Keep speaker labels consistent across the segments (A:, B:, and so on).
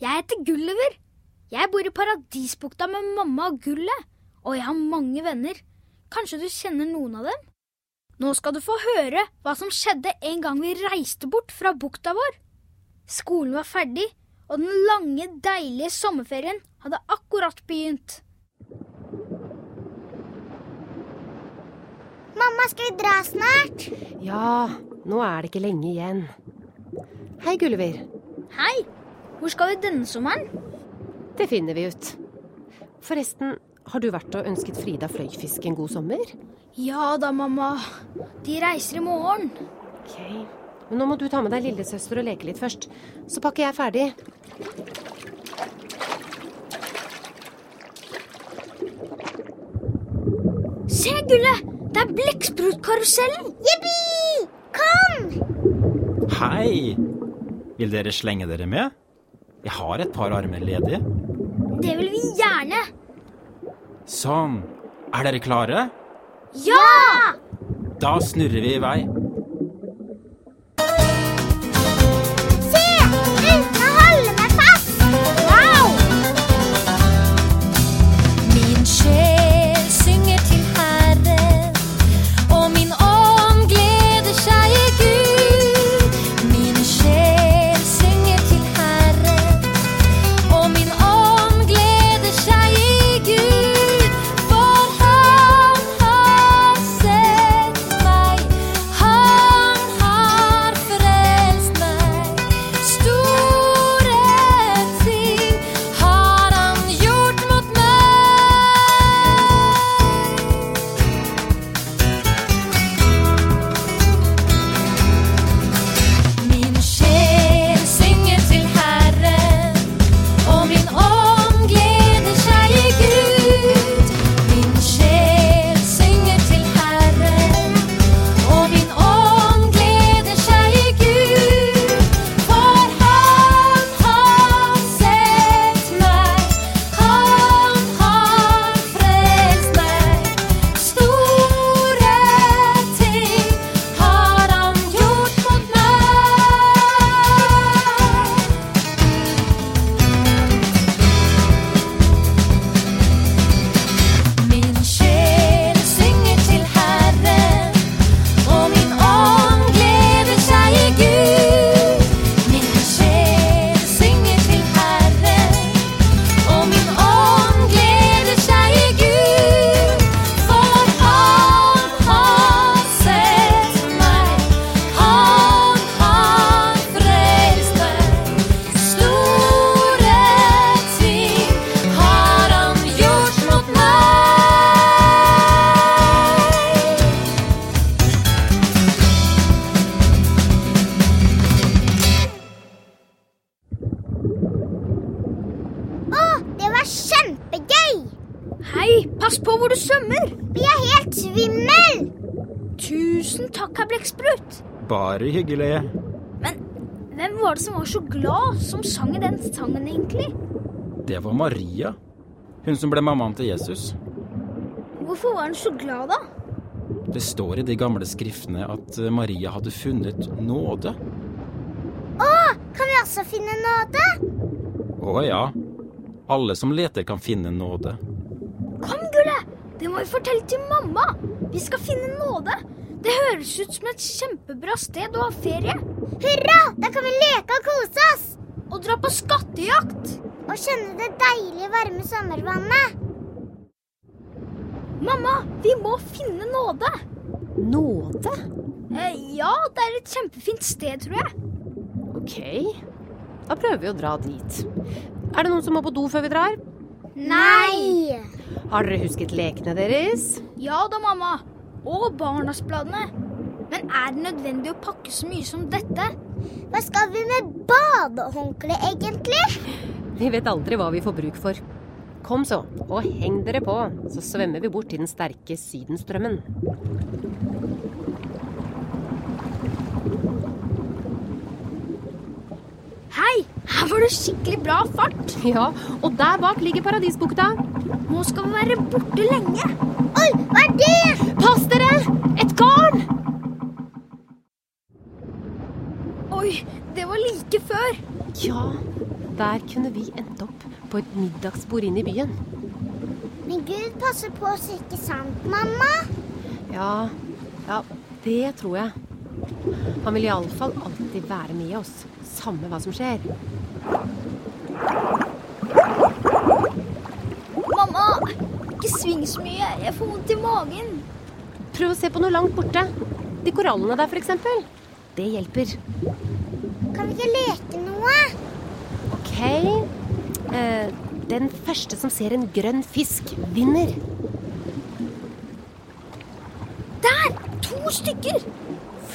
A: Jeg heter Gulliver. Jeg bor i Paradisbukta med mamma og Gullet, og jeg har mange venner. Kanskje du kjenner noen av dem? Nå skal du få høre hva som skjedde en gang vi reiste bort fra bukta vår. Skolen var ferdig, og den lange, deilige sommerferien hadde akkurat begynt.
B: Mamma, skal vi dra snart?
C: Ja, nå er det ikke lenge igjen. Hei, Gulliver.
A: Hei, hvor skal vi denne sommeren?
C: Det finner vi ut. Forresten, har du vært og ønsket Frida Fløyfisk en god sommer?
A: Ja da, mamma. De reiser i morgen.
C: Ok. Men nå må du ta med deg lillesøster og leke litt først. Så pakker jeg ferdig.
A: Se, Gullet! Det er Blekksprutkarusellen!
B: Jippi! Kom!
D: Hei! Vil dere slenge dere med? Jeg har et par armer ledig.
A: Det vil vi gjerne.
D: Sånn. Er dere klare?
A: Ja!
D: Da snurrer vi i vei.
B: Se! Rutene holder meg fast! Wow!
E: Min sjel synger til Herren, og min ånd gleder seg i Gud. Min sjel synger til Herren, og min ånd gleder seg i Gud. For han har sett meg, han har frelst meg. Store ting har han gjort mot meg. Min sjel synger til Herren, og min ånd gleder seg i Gud. Min sjel synger til Herren, og min ånd gleder seg i Gud. For han har sett meg, han har frelst meg. Store ting har han gjort mot meg. Min sjel synger til Herren, og min ånd gleder seg i Gud. Min sjel synger til Herren, og min ånd gleder seg i Gud. For han har sett meg, han har frelst meg. Store ting har han gjort mot meg.
B: Å, det var kjempegøy!
A: Hei, pass på hvor du svømmer!
B: Vi er helt svimmel!
A: Tusen takk, herr Blekksprut.
D: Bare hyggelig.
A: Men hvem var det som var så glad som sang i den sangen, egentlig?
D: Det var Maria. Hun som ble mammaen til Jesus.
A: Hvorfor var han så glad, da?
D: Det står i de gamle skriftene at eh, Maria hadde funnet nåde.
B: Å, kan vi
A: altså
B: også finne nåde?
D: Å ja. Alle som leter, kan finne nåde.
A: Kom, Gullet! Det må vi fortelle til mamma! Vi skal finne nåde! Det høres ut som et kjempebra sted å ha ferie.
B: Hurra! Da kan vi leke og kose oss!
A: Og dra på skattejakt!
B: Og kjenne det deilige, varme sommervannet.
A: Mamma, vi må finne nåde!
C: Nåde?
A: Eh, ja, det er et kjempefint sted, tror jeg.
C: Ok. Da prøver vi å dra dit. Er det noen som må på do før vi drar?
B: Nei!
C: Har dere husket lekene deres?
A: Ja da, mamma. Og Barnasbladene. Men er det nødvendig å pakke så mye som dette?
B: Hva skal vi med badehåndkle, egentlig?
C: Vi vet aldri hva vi får bruk for. Kom så, og heng dere på, så svømmer vi bort til den sterke sydenstrømmen.
A: Hei, her var det skikkelig bra fart.
C: Ja, og der bak ligger Paradisbukta.
A: Nå skal vi være borte lenge.
B: Oi, hva er det?
C: Pass dere! Et garn!
A: Oi, det var like før.
C: Ja, der kunne vi endt opp på et middagsbord inne i byen.
E: Men Gud passer på oss, ikke sant, mamma?
C: Ja, ja, det tror jeg. Han vil iallfall alltid være med oss, samme hva som skjer.
A: Mamma, ikke sving så mye. Jeg får vondt i magen.
C: Prøv å se på noe langt borte. De korallene der, f.eks. Det hjelper.
E: Kan vi ikke leke noe?
C: OK. Eh, den første som ser en grønn fisk, vinner.
A: Der! To stykker.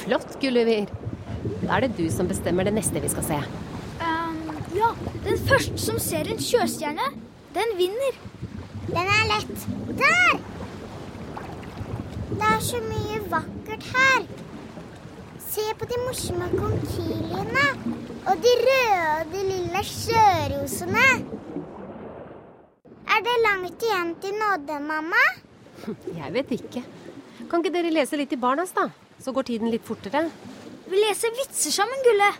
C: Flott, Gulliver. Da er det du som bestemmer det neste vi skal se.
A: Ehm, ja, den første som ser en sjøstjerne, den vinner.
E: Den er lett. Der! Det er så mye vakkert her. Se på de morsomme konkiliene. Og de røde og de lille sjørosene. Er det langt igjen til nåde, mamma?
C: Jeg vet ikke. Kan ikke dere lese litt i Barnas, da? Så går tiden litt fortere.
A: Vi leser vitser sammen, Gulle.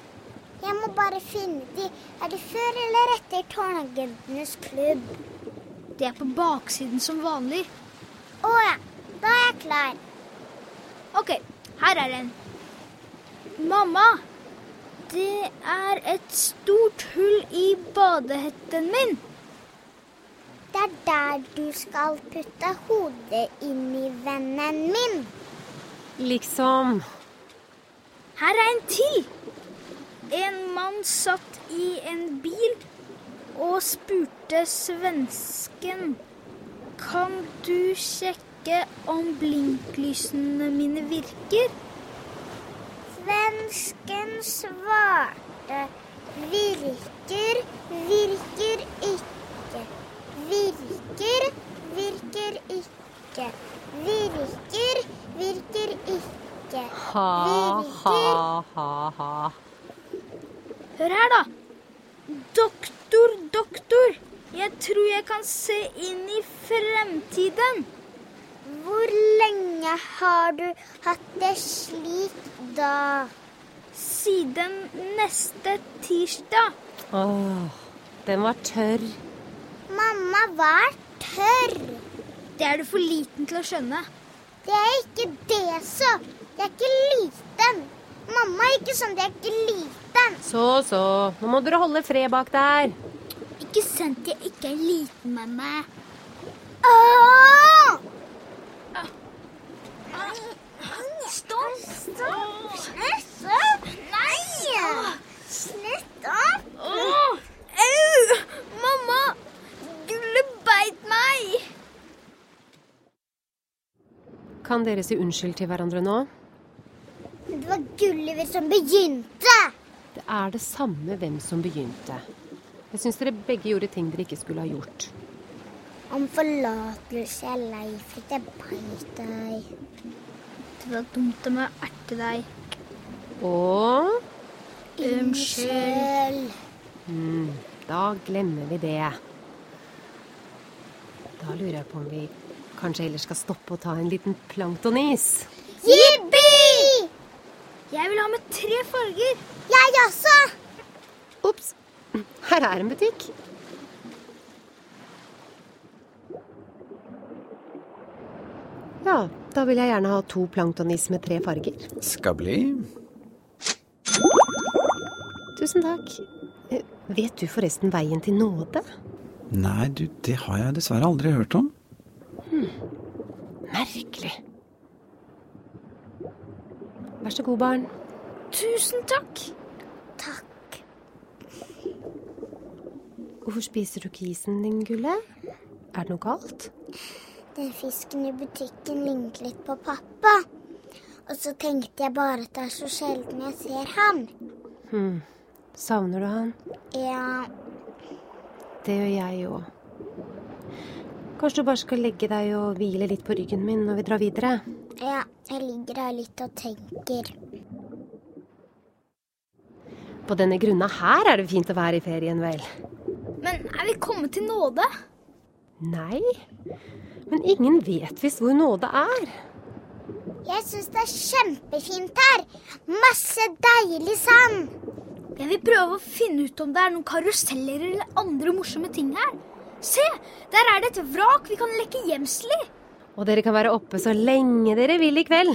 E: Jeg må bare finne de. Er de før eller etter Tårnagentenes klubb?
A: Det er på baksiden som vanlig.
E: Å ja, da er jeg klar.
A: Ok, her er en. Mamma, det er et stort hull i badehetten min.
E: Det er der du skal putte hodet inn i vennen min.
C: Liksom
A: Her er en til. En mann satt i en bil og spurte svensken Kan du sjekke om blinklysene mine virker?
E: Svensken svarte virker, virker ikke. Virker, virker ikke. Virker, virker ikke.
C: Ha, ha, ha, ha.
A: Hør her, da. Doktor, doktor, jeg tror jeg kan se inn i fremtiden.
E: Hvor lenge har du hatt det slik da?
A: Siden neste tirsdag.
C: Åh, den var tørr.
E: Mamma var tørr.
A: Det er du for liten til å skjønne.
E: Det er ikke det, så. Jeg er ikke liten. Mamma er ikke sånn, jeg er ikke liten.
C: Så, så. Nå må dere holde fred bak der.
A: Ikke sant jeg ikke er liten, mamma.
E: Åh!
A: Ah, Stopp!
E: Slutt opp! Nei! Slutt opp!
A: Åh! Au! Mamma! Gulle beit meg!
C: Kan dere si unnskyld til hverandre nå?
E: Det var Gulliver som begynte.
C: Det er det samme hvem som begynte. Jeg syns dere begge gjorde ting dere ikke skulle ha gjort.
E: Om forlatelse er lei for at jeg beit deg.
A: Det var dumt om jeg erte deg.
C: Og
A: Unnskyld.
E: Unnskyld.
C: mm, da glemmer vi det. Da lurer jeg på om vi kanskje heller skal stoppe og ta en liten planktonis.
E: Jippi!
A: Jeg vil ha med tre farger.
E: Jeg også.
C: Ops! Her er en butikk. Ja, da vil jeg gjerne ha to planktonis med tre farger.
F: Skal bli.
C: Tusen takk. Eh, Vet du forresten veien til nåde?
F: Nei, du, det har jeg dessverre aldri hørt om.
C: Merkelig. Vær så god, barn.
A: Tusen takk.
E: Takk.
C: Hvorfor spiser du ikke isen din, Gulle? Er det noe galt?
E: Den fisken i butikken lignet litt på pappa. Og så tenkte jeg bare at det er så sjelden jeg ser ham.
C: Savner du han?
E: Ja,
C: Det gjør jeg òg. Kanskje du bare skal legge deg og hvile litt på ryggen min når vi drar videre?
E: ja, jeg ligger her litt og tenker.
C: På denne grunna her er det fint å være i ferien, vel?
A: Men er vi kommet til nåde?
C: Nei. Men ingen vet visst hvor nåde er.
E: Jeg syns det er kjempefint her. Masse deilig sand.
A: Jeg vil prøve å finne ut om det er noen karuseller eller andre morsomme ting her. Se, der er det et vrak vi kan leke gjemsel i.
C: Og dere kan være oppe så lenge dere vil i kveld.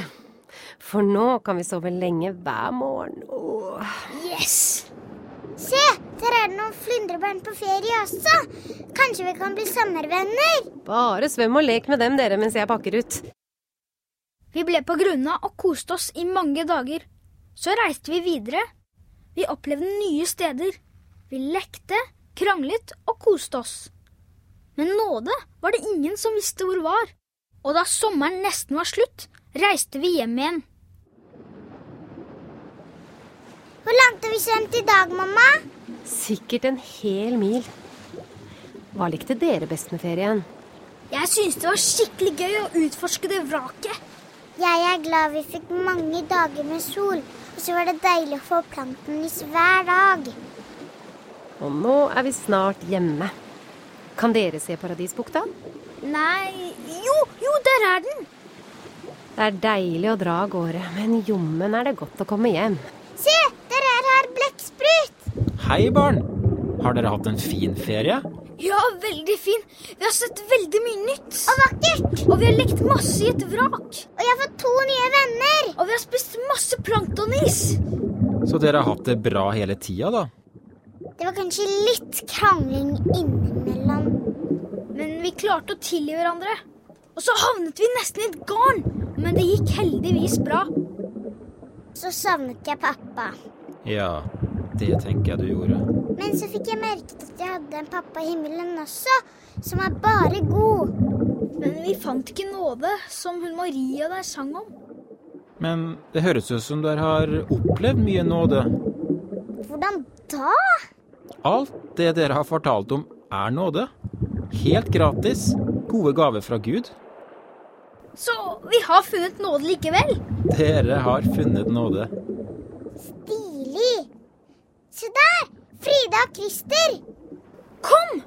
C: For nå kan vi sove lenge hver morgen. Åh.
A: Yes!
E: Se, der er det noen flyndrebarn på ferie også. Kanskje vi kan bli sommervenner?
C: Bare svøm og lek med dem, dere, mens jeg pakker ut.
A: Vi ble på grunna og koste oss i mange dager. Så reiste vi videre. Vi opplevde nye steder. Vi lekte, kranglet og koste oss. Men nåde var det ingen som visste hvor var. Og da sommeren nesten var slutt, reiste vi hjem igjen.
E: Hvor langt har vi svømt i dag, mamma?
C: Sikkert en hel mil. Hva likte dere best med ferien?
A: Jeg syntes det var skikkelig gøy å utforske det vraket.
E: Jeg er glad vi fikk mange dager med sol, og så var det deilig å få planktonlys hver dag.
C: Og nå er vi snart hjemme. Kan dere se Paradisbukta?
A: Nei Jo, jo, der er den!
C: Det er deilig å dra av gårde, men jommen er det godt å komme hjem.
E: Se, der er her blekksprut!
D: Hei, barn! Har dere hatt en fin ferie?
A: Ja, veldig fin. Vi har sett veldig mye nytt.
E: Og vakkert!
A: Og vi har lekt masse i et vrak.
E: Og jeg har fått to nye venner!
A: Og vi har spist masse planktonis.
D: Så dere har hatt det bra hele tida, da?
E: Det var kanskje litt krangling innimellom.
A: Men vi klarte å tilgi hverandre. Og så havnet vi nesten i et garn. Men det gikk heldigvis bra.
E: Så savnet jeg pappa.
D: Ja, det tenker jeg du gjorde.
E: Men så fikk jeg merket at jeg hadde en pappa i himmelen også, som er bare god.
A: Men vi fant ikke nåde, som hun Maria der sang om.
D: Men det høres ut som dere har opplevd mye nåde.
E: Hvordan da?
D: Alt det dere har fortalt om, er nåde. Helt gratis. Gode gaver fra Gud.
A: Så vi har funnet nåde likevel.
D: Dere har funnet nåde.
E: Stilig! Se der! Frida og Christer!
A: Kom!